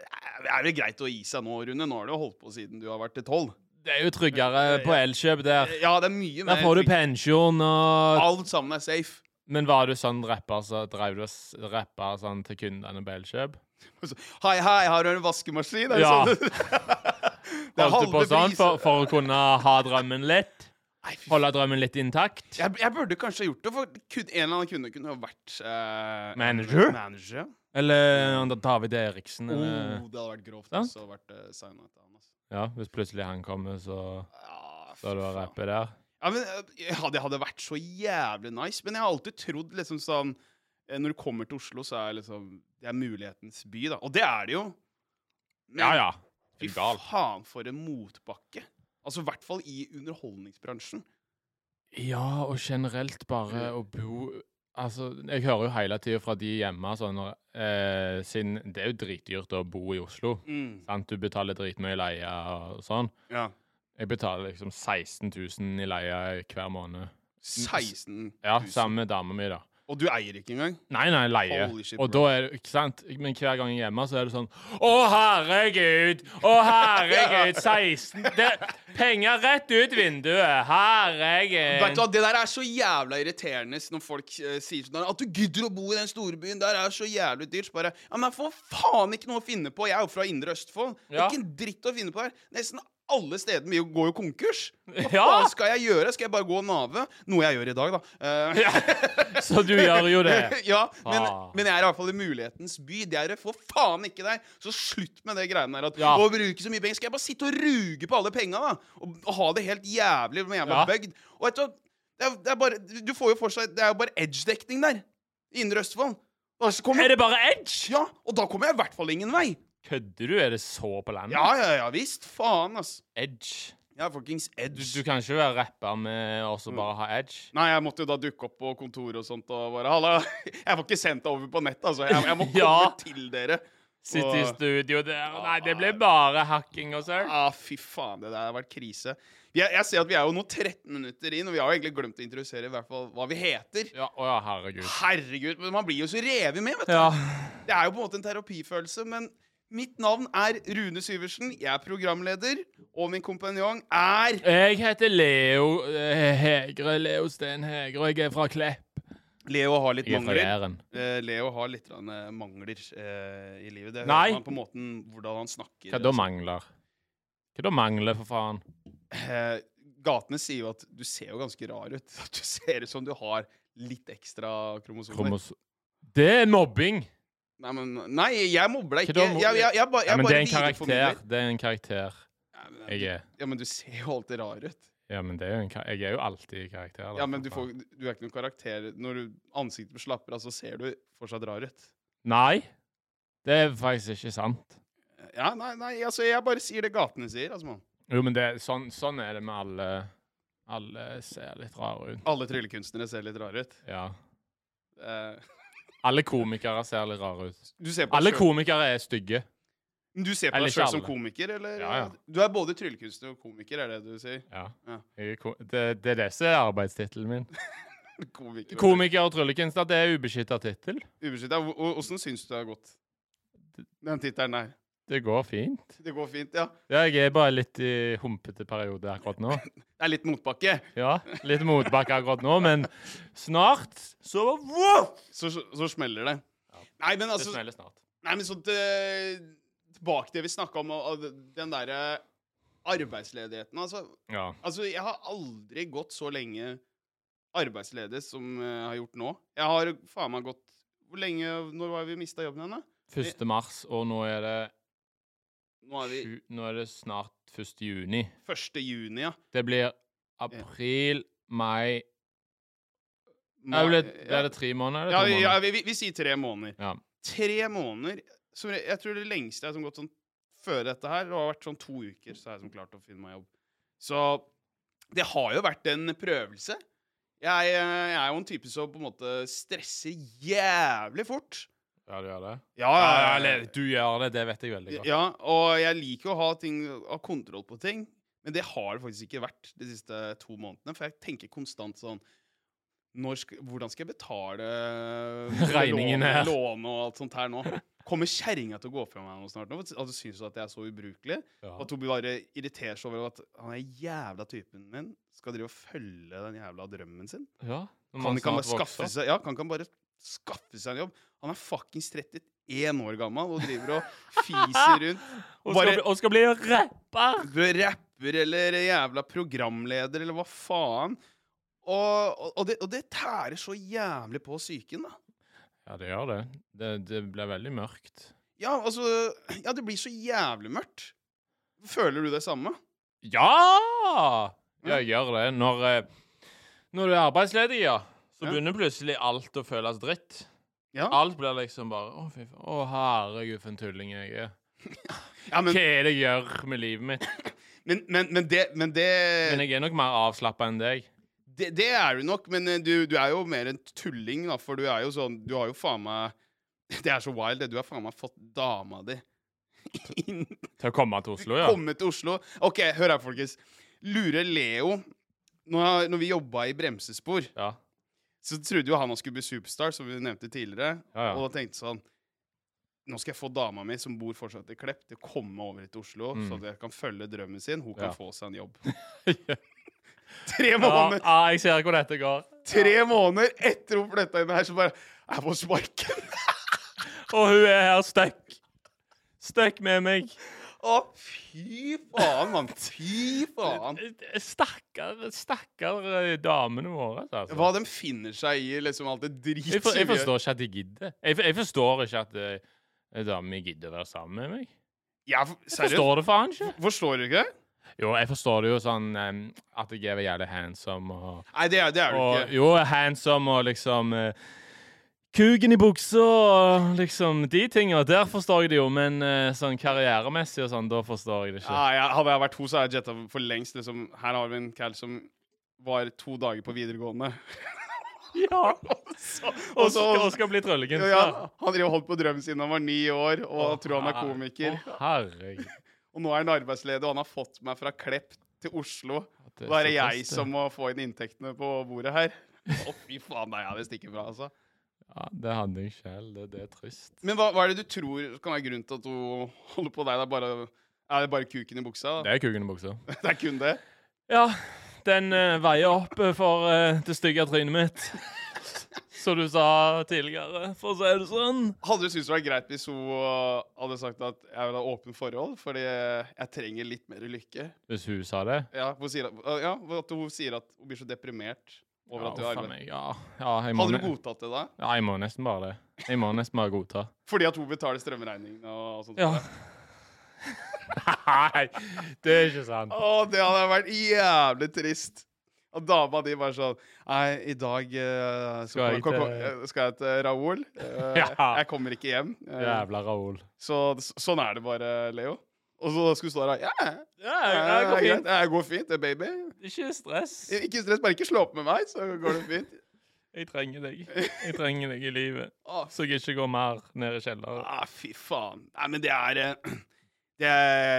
Speaker 2: "Nei, Er det greit å gi seg nå, Rune? Nå har du jo holdt på siden du har vært tolv.
Speaker 3: Det er jo tryggere på Elkjøp der.
Speaker 2: Ja, det er mye
Speaker 3: Der får du
Speaker 2: trygt.
Speaker 3: pensjon og
Speaker 2: Alt sammen er safe.
Speaker 3: Men var du sånn rapper, så drev du og s- rappa sånn til kundene på Elkjøp?
Speaker 2: Og så, Hei, hei, har du en vaskemaskin? Er det
Speaker 3: Ja.
Speaker 2: sånn du- Det er
Speaker 3: Holdt du på
Speaker 2: halve
Speaker 3: sånn
Speaker 2: pris.
Speaker 3: for, for å kunne ha drømmen litt?
Speaker 2: Nei, fy faen.
Speaker 3: Holde drømmen litt intakt?
Speaker 2: jeg, jeg burde kanskje ha gjort det, for kun, en eller annen kunde kunne ha vært eh,
Speaker 3: Manager?
Speaker 2: manager ja.
Speaker 3: Eller under David Eriksen?
Speaker 2: oh,
Speaker 3: Eller?
Speaker 2: det hadde vært grovt
Speaker 3: eh, Sant?
Speaker 2: hvis det hadde vært eh, signet til han. Altså.
Speaker 3: Ja, hvis plutselig han kommer, så
Speaker 2: Ja, fy
Speaker 3: skal du ha
Speaker 2: faen.
Speaker 3: rappet der?
Speaker 2: Ja, men eh, ja, Det hadde vært så jævlig nice. Men jeg har alltid trodd liksom sånn eh, Når du kommer til Oslo, så er liksom Det er mulighetens by, da. Og det er det jo. Men
Speaker 3: Ja, ja.
Speaker 2: fy
Speaker 3: Er du gal?
Speaker 2: faen, for en motbakke. Altså i hvert fall i underholdningsbransjen.
Speaker 3: Ja, og generelt
Speaker 2: Eh.
Speaker 3: bare å bo Altså, jeg hører jo hele tida fra de hjemme sånn eh, Siden det er jo dritdyrt å bo i Oslo.
Speaker 2: Mm.
Speaker 3: Sant? Du betaler dritmye i leie og sånn.
Speaker 2: Ja.
Speaker 3: Jeg betaler liksom 16 000 i leie hver måned.
Speaker 2: 16 000.
Speaker 3: Ja, sammen med dama mi, da.
Speaker 2: Og du eier ikke engang?
Speaker 3: Nei, nei, leie.
Speaker 2: Holy shit,
Speaker 3: Og da
Speaker 2: bro.
Speaker 3: er det, ikke sant? Men hver gang jeg er hjemme, så er det sånn Å, herregud! Å, herregud! 16 det, Penger rett ut vinduet!
Speaker 2: Vet du
Speaker 3: Herregud!
Speaker 2: hva, Det der er så jævla irriterende når folk eh, sier sånn at du gidder å bo i den storbyen. Der er så jævlig dyrt. Så bare Ja, men for faen ikke noe å finne på. Jeg er jo fra Indre Østfold. Det
Speaker 3: Ja.
Speaker 2: er ikke en dritt å finne på her. Nesten alle stedene mine går jo konkurs. Hva
Speaker 3: Ja.
Speaker 2: faen skal jeg gjøre? Skal jeg bare gå og nave? Noe jeg gjør i dag, da. Eh,
Speaker 3: Så du gjør jo det.
Speaker 2: ja, men,
Speaker 3: Ah.
Speaker 2: men jeg er i hvert fall i mulighetens by. Det er det for faen ikke der. Så slutt med det greiene der. At,
Speaker 3: Ja.
Speaker 2: Å bruke så mye penger. Skal jeg bare sitte og ruge på alle penga, da? Og, og ha det helt jævlig med jævla
Speaker 3: Ja.
Speaker 2: bøgd? Og vet du, hva? det er, det er bare Du får jo for seg Det er jo bare edge-dekning der. I Indre Østfold. Og så kommer,
Speaker 3: Er det bare edge?
Speaker 2: ja, og da kommer jeg i hvert fall ingen vei.
Speaker 3: Kødder du? Er det så på landet?
Speaker 2: Ja, ja, ja visst. Faen, ass.
Speaker 3: Edge.
Speaker 2: Jeg er fuckings
Speaker 3: Du,
Speaker 2: edge.
Speaker 3: du kan ikke være rapper med og
Speaker 2: Mm.
Speaker 3: så bare ha edge.
Speaker 2: Nei, jeg måtte jo da dukke opp på kontoret og sånt og bare Halla, jeg får ikke sendt deg over på nettet, altså. Jeg, jeg må komme
Speaker 3: Ja.
Speaker 2: til dere.
Speaker 3: Sitte i
Speaker 2: Og-
Speaker 3: studio der og Nei, det blir bare hacking og søl.
Speaker 2: Ja, Ah, fy faen, det der har vært krise. Vi er, jeg ser at vi er jo nå 13 minutter inn, og vi har jo egentlig glemt å introdusere i hvert fall hva vi heter.
Speaker 3: Ja, å ja, herregud.
Speaker 2: Herregud, men man blir jo så revet med, vet du.
Speaker 3: Ja.
Speaker 2: Det er jo på en måte en terapifølelse, men mitt navn er Rune Syversen, jeg er programleder, og min kompanjong er
Speaker 3: Jeg heter Leo eh, Hegre, Leo Sten Hegre, og jeg er fra Klepp.
Speaker 2: Leo har litt
Speaker 3: Jeg er fra
Speaker 2: mangler.
Speaker 3: Jæren.
Speaker 2: Eh, Leo har litt grann, eh, mangler eh, i livet. Det
Speaker 3: Nei.
Speaker 2: hører man på måten hvordan han snakker.
Speaker 3: Hva da mangler? Hva da mangler, for faen?
Speaker 2: Eh, Gatene sier jo at du ser jo ganske rar ut. At du ser ut som du har litt ekstra kromosomer.
Speaker 3: Kromos... Det er mobbing!
Speaker 2: Nei, men, nei, jeg mobber deg
Speaker 3: Ikke
Speaker 2: ikke.
Speaker 3: da mo-
Speaker 2: Jeg, jeg, jeg, bare- jeg
Speaker 3: Ja, men det
Speaker 2: bare
Speaker 3: er en
Speaker 2: videreformidler.
Speaker 3: karakter. Det er en karakter
Speaker 2: Ja, men-
Speaker 3: jeg er.
Speaker 2: Ja, men du ser jo alltid rar ut.
Speaker 3: Ja, men det er jo en kar jeg er jo alltid i karakter. da,
Speaker 2: Ja, men
Speaker 3: for
Speaker 2: du,
Speaker 3: faen.
Speaker 2: får, du er ikke noen karakter. Når du, ansiktet blir slapper av, så ser du fortsatt rar ut.
Speaker 3: Nei. Det er faktisk ikke sant.
Speaker 2: Ja, nei, nei, altså, jeg bare sier det gatene sier, altså, mann.
Speaker 3: Jo, men det, er- sånn, sånn er det med alle Alle ser litt rare ut.
Speaker 2: Alle tryllekunstnere ser litt rare ut.
Speaker 3: Ja.
Speaker 2: Eh,
Speaker 3: Alle komikere ser litt rare ut.
Speaker 2: du ser på
Speaker 3: Alle
Speaker 2: deg selv-
Speaker 3: komikere er stygge.
Speaker 2: Du ser på
Speaker 3: Eller
Speaker 2: deg
Speaker 3: ikke
Speaker 2: sjøl som
Speaker 3: alle.
Speaker 2: komiker, eller?
Speaker 3: Ja, ja.
Speaker 2: Du er både tryllekunstner og komiker, er det du sier?
Speaker 3: Ja.
Speaker 2: Ja.
Speaker 3: Jeg er ko det, det er det som er arbeidstittelen min.
Speaker 2: Komiker.
Speaker 3: Komiker og tryllekunstner, det er ubeskytta tittel.
Speaker 2: Ubeskytta. Hvor- hvor- Hvordan syns du det har gått? Den tittelen der.
Speaker 3: Det går fint.
Speaker 2: Det går fint, ja.
Speaker 3: Ja, jeg er bare litt i humpete periode akkurat nå.
Speaker 2: Det er litt motbakke.
Speaker 3: Ja, Litt motbakke akkurat nå, men snart så wow!
Speaker 2: Så, så, så smeller det. Nei, men altså
Speaker 3: snart.
Speaker 2: Nei, men så til, Tilbake til det vi snakka om, og- og den derre arbeidsledigheten. Altså,
Speaker 3: Ja.
Speaker 2: altså, jeg har aldri gått så lenge arbeidsledig som eh, jeg har gjort nå. Jeg har faen meg gått Hvor lenge Når var det vi mista jobben henne?
Speaker 3: 1. mars, og nå er det,
Speaker 2: Nå er vi
Speaker 3: sju- nå er det snart 1. juni.
Speaker 2: 1. juni, ja.
Speaker 3: Det blir april, mai
Speaker 2: Nå-
Speaker 3: ja, det blir, Er det tre måneder?
Speaker 2: ja,
Speaker 3: Eller to
Speaker 2: ja,
Speaker 3: måneder?
Speaker 2: vi, vi, vi sier tre måneder.
Speaker 3: Ja.
Speaker 2: Tre måneder som, Jeg jeg tror det lengste jeg har gått sånn før dette her, det har vært sånn to uker, så har jeg som klart å finne meg jobb. Så det har jo vært en prøvelse. Jeg, eh, jeg er jo en type som på en måte stresser jævlig fort. Eh,
Speaker 3: Ja, du gjør det?
Speaker 2: Ja,
Speaker 3: Ja, ja, eller du gjør det, det vet jeg veldig godt.
Speaker 2: Ja, og jeg liker å ha, ting, ha kontroll på ting, men det har det faktisk ikke vært de siste to månedene. For jeg tenker konstant sånn når sk Hvordan skal jeg betale
Speaker 3: Regningen her.
Speaker 2: lån- Lån og alt sånt her nå? Kommer kjerringa til å gå fra meg nå snart? Nå? At du syns at jeg er så ubrukelig?
Speaker 3: Ja.
Speaker 2: At hun bare irriterer seg over at han er jævla typen min skal drive og følge den jævla drømmen sin?
Speaker 3: Ja, når
Speaker 2: Kan
Speaker 3: man
Speaker 2: ikke han
Speaker 3: snart
Speaker 2: bare skaffe
Speaker 3: vokser.
Speaker 2: seg, ja, kan ikke han bare skaffe seg en jobb? Han er fuckings 31 år gammel og driver og fiser rundt.
Speaker 3: Og
Speaker 2: Bare-
Speaker 3: skal, bli- og skal bli rapper!
Speaker 2: rapper eller jævla programleder eller hva faen. Og, og, og, det, og det tærer så jævlig på psyken, da.
Speaker 3: Ja, det gjør det. Det, det blir veldig mørkt.
Speaker 2: Ja, altså Ja, det blir så jævlig mørkt. Føler du det samme?
Speaker 3: Ja! Jeg gjør det. Når, eh, når du er arbeidsledig, ja, så
Speaker 2: Ja.
Speaker 3: begynner plutselig alt å føles dritt.
Speaker 2: Ja.
Speaker 3: Alt blir liksom bare Å, fy faen. Å, herregud, for en tulling jeg er.
Speaker 2: Ja, men,
Speaker 3: Hva er det jeg gjør med livet mitt?
Speaker 2: men, men, men det Men det,
Speaker 3: Men jeg er nok mer avslappa enn deg.
Speaker 2: det, det er du nok, men eh, du, du er jo mer en tulling, da, for du er jo sånn Du har jo faen meg Det er så wild, det. Du har faen meg fått dama di inn
Speaker 3: Til å komme til Oslo, ja.
Speaker 2: Komme til Oslo. OK, hør her, folkens. Lure Leo Når, når vi jobba i bremsespor,
Speaker 3: Ja.
Speaker 2: så trodde jo han han skulle bli superstar, som vi nevnte tidligere.
Speaker 3: Ja, ja.
Speaker 2: Og da tenkte sånn Nå skal jeg få dama mi, som bor fortsatt i Klepp, til å komme over til Oslo, så at jeg kan følge drømmen sin. Hun kan
Speaker 3: Mm. Ja.
Speaker 2: få seg en jobb. tre
Speaker 3: Ja,
Speaker 2: måneder
Speaker 3: ja, jeg ser hvor dette går.
Speaker 2: Tre måneder etter hun flytta inn her, så bare Jeg får sparken!
Speaker 3: Og hun er her stuck. Stuck med meg.
Speaker 2: Å, fy faen, mann. Fy faen.
Speaker 3: Stakkar, stakkar eh, damene våre, altså.
Speaker 2: Hva de finner seg i, liksom alt det dritt
Speaker 3: Jeg, for, jeg
Speaker 2: som gjør-
Speaker 3: forstår ikke at de gidder. Jeg, for, jeg forstår ikke at eh, en dame gidder å være sammen med meg.
Speaker 2: Ja, for-
Speaker 3: Jeg
Speaker 2: seriøst?
Speaker 3: forstår det faen ikke.
Speaker 2: Forstår du ikke det?
Speaker 3: Jo, jeg forstår det jo sånn em, at jeg er jævlig handsome og,
Speaker 2: Nei, det er, det er du
Speaker 3: og
Speaker 2: ikke.
Speaker 3: Jo, handsome og liksom eh, Kuken i buksa og liksom de tinga. Der forstår jeg det jo, men eh, sånn karrieremessig og sånn, da forstår jeg det ikke.
Speaker 2: Ja, jeg, hadde jeg vært hun, så hadde jeg jetta for lengst. Liksom. Her har vi en cal som var to dager på videregående.
Speaker 3: Ja. Og
Speaker 2: og
Speaker 3: så
Speaker 2: så-
Speaker 3: og skal bli
Speaker 2: Ja,
Speaker 3: tryllekunstner.
Speaker 2: ja, han drev og holdt på drømmen sin da han var ni år, og han tror han er komiker.
Speaker 3: Ah, Å, herregud.
Speaker 2: Og nå er han arbeidsledig, og han har fått meg fra Klepp til Oslo.
Speaker 3: Det
Speaker 2: Da er det
Speaker 3: så
Speaker 2: jeg
Speaker 3: trist, det.
Speaker 2: som må få inn inntektene på bordet her. Å, fy faen, nei, jeg vil stikke fra, altså.
Speaker 3: Ja, det hadde jeg sjøl. Det, det er trist.
Speaker 2: Men hva, hva er det du tror kan være grunnen til at hun holder på deg? Det er, bare, er det bare kuken i buksa?
Speaker 3: Det er kuken i buksa.
Speaker 2: Det er kun det?
Speaker 3: Ja, den eh, veier opp eh, for eh, det stygge trynet mitt. Som du sa tidligere, for å si det sånn.
Speaker 2: Hadde du syntes det var greit hvis hun øh, hadde sagt at jeg vil ha åpen forhold, fordi jeg trenger litt mer lykke?
Speaker 3: Hvis hun sa det?
Speaker 2: Ja, hun sier at, øh, ja, at hun sier at hun blir så deprimert over
Speaker 3: Ja,
Speaker 2: at du har
Speaker 3: faen
Speaker 2: arbeid.
Speaker 3: meg, ja. ja jeg, må
Speaker 2: Hadde du
Speaker 3: ne-
Speaker 2: godtatt det da?
Speaker 3: ja, jeg må nesten bare det. Jeg må nesten bare godta.
Speaker 2: Fordi at hun betaler strømregningen og sånt?
Speaker 3: Ja. Nei, det er ikke sant.
Speaker 2: Å, det hadde vært jævlig trist. Og dama di bare sånn Nei, i dag øh, så
Speaker 3: Skal jeg
Speaker 2: kom-
Speaker 3: til-
Speaker 2: kom- skal jeg til Raoul. Eh,
Speaker 3: Ja.
Speaker 2: Jeg kommer ikke hjem. Eh,
Speaker 3: Jævla Raoul.
Speaker 2: så, sånn er det bare, Leo. Og så skulle du stå der og Ja,
Speaker 3: Ja,
Speaker 2: det går fint. Det går fint, det, baby.
Speaker 3: Ikke stress.
Speaker 2: Ikke stress, bare ikke slå opp med meg, så går det fint.
Speaker 3: Jeg trenger deg. Jeg trenger deg i livet.
Speaker 2: Å,
Speaker 3: Så jeg ikke går mer ned i kjelleren.
Speaker 2: ah, fy faen. Nei, men det er eh, det er,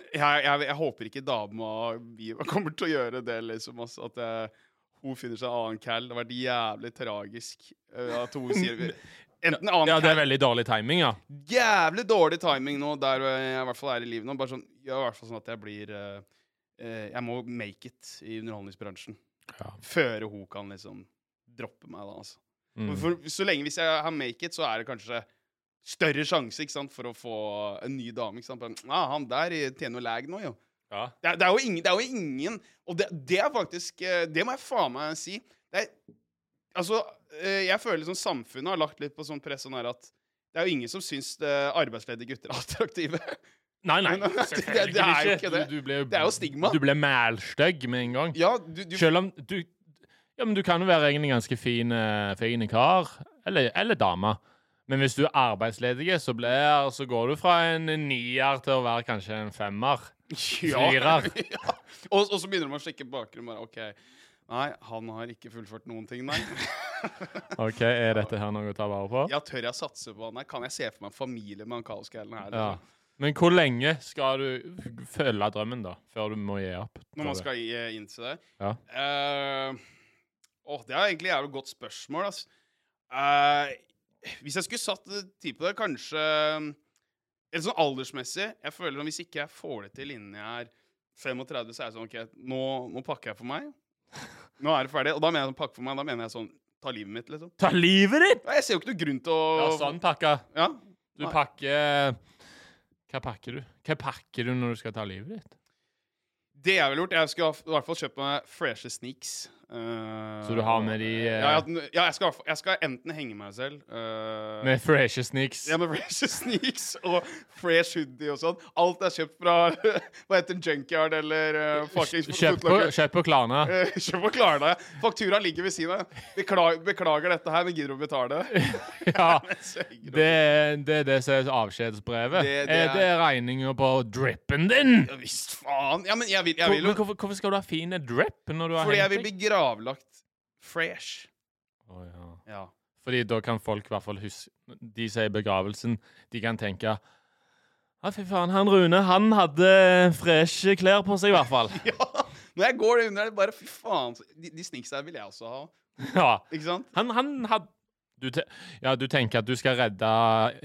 Speaker 2: jeg, jeg, jeg håper ikke dama mi kommer til å gjøre det, liksom. Altså, at eh, Hun finner seg annen cal. Det har vært jævlig tragisk eh, at hun sier Enten annen
Speaker 3: Ja, det
Speaker 2: cal
Speaker 3: er veldig dårlig timing, ja.
Speaker 2: Jævlig dårlig timing nå, der eh, jeg i hvert fall er i livet nå. Bare sånn, ja, i hvert fall sånn at jeg blir eh, eh, Jeg må make it i underholdningsbransjen.
Speaker 3: Ja.
Speaker 2: Før hun kan liksom droppe meg, da, altså.
Speaker 3: Mm.
Speaker 2: For så lenge hvis jeg har make it, så er det kanskje større sjanse ikke sant, for å få en ny dame. ikke sant? Bare, ah, 'Han der eh, tjener jo lag nå, jo'.
Speaker 3: Ja.
Speaker 2: Det er, det er, jo, ingen, det er jo ingen Og det, det er faktisk eh, Det må jeg faen meg si. Det er, altså, eh, jeg føler liksom samfunnet har lagt litt på sånn press sånn her at det er jo ingen som syns eh, arbeidsledige gutter er attraktive.
Speaker 3: Nei, nei,
Speaker 2: Men, det- det er jo
Speaker 3: selvfølgelig
Speaker 2: ikke det.
Speaker 3: Du, du blir,
Speaker 2: Det er jo stigma.
Speaker 3: Du blir mælstygg med en gang.
Speaker 2: Ja, du, du,
Speaker 3: Selv om du Ja, men du kan jo være egentlig en ganske fin, eh, fin kar. Eller, eller dame. Men hvis du er arbeidsledig, så, blir, så går du fra en nier til å være kanskje en femmer.
Speaker 2: ja.
Speaker 3: Fyrer.
Speaker 2: ja. Og, og så begynner de å sjekke bakgrunnen. Bare, ok, Nei, han har ikke fullført noen ting, nei.
Speaker 3: OK, er dette her noe å ta vare på?
Speaker 2: Ja, tør jeg satse på han her? Kan jeg se for meg en familie med han kaoskallen her?
Speaker 3: Ja.
Speaker 2: liksom?
Speaker 3: Men hvor lenge skal du f- følge drømmen, da? Før du må gi opp?
Speaker 2: Når man skal i- inn til det?
Speaker 3: Ja.
Speaker 2: Eh, åh, det er egentlig et jævlig godt spørsmål, ass. Eh, hvis jeg skulle satt en tid på det, kanskje eh, Eller sånn aldersmessig Jeg føler at Hvis ikke jeg får det til innen jeg er 35, så er jeg sånn OK, nå, nå pakker jeg for meg. Nå er det ferdig. Og da mener jeg sånn pakke for meg. Da mener jeg sånn ta livet mitt, liksom.
Speaker 3: Ta livet ditt!
Speaker 2: Nei, Jeg ser jo ikke noe grunn til å
Speaker 3: Ja, sånn pakka.
Speaker 2: Ja.
Speaker 3: Du
Speaker 2: Nei.
Speaker 3: pakker Hva pakker du? Hva pakker du når du skal ta livet ditt?
Speaker 2: Det jeg ville gjort Jeg skulle ha f- i hvert fall kjøpt meg freshe sneaks. eh,
Speaker 3: Så du har med de, eh,
Speaker 2: Ja, jeg, ja jeg, skal, i hvert fall- jeg skal enten henge meg selv eh,
Speaker 3: Med freshe sneaks?
Speaker 2: Ja, med fresh sneaks og fresh hoodie og sånn. Alt er kjøpt fra Hva heter det, Junkyard eller uh, fuckings
Speaker 3: Kjøp på,
Speaker 2: Footlocker.
Speaker 3: kjøp på Klarna.
Speaker 2: Eh, Kjøp og klar deg. Faktura ligger ved siden av. Beklager, beklager dette her, men gidder du å betale?
Speaker 3: Ja.
Speaker 2: Så jeg gidder å-
Speaker 3: Det, er- det er det som er avskjedsbrevet.
Speaker 2: Det- det
Speaker 3: Eh, Det er regninga på drippen din!
Speaker 2: Ja visst faen. Ja, men jeg vil, jeg
Speaker 3: Hvor,
Speaker 2: vil
Speaker 3: men
Speaker 2: jo
Speaker 3: hvorfor, hvorfor skal du ha fine drip når du har
Speaker 2: Fordi jeg vil
Speaker 3: hengt
Speaker 2: bli
Speaker 3: deg?
Speaker 2: gravlagt fresh.
Speaker 3: Å, ja.
Speaker 2: Ja.
Speaker 3: Fordi da kan folk i hvert fall huske De som er i begravelsen, de kan tenke Ja, fy faen, han Rune, han hadde freshe klær på seg, i hvert fall.
Speaker 2: ja. Når jeg går under, er det bare fy faen. så- De, de sneaksa her vil jeg også ha.
Speaker 3: Ja.
Speaker 2: Ikke sant?
Speaker 3: Han, han hadde du te Ja, du tenker at du skal redde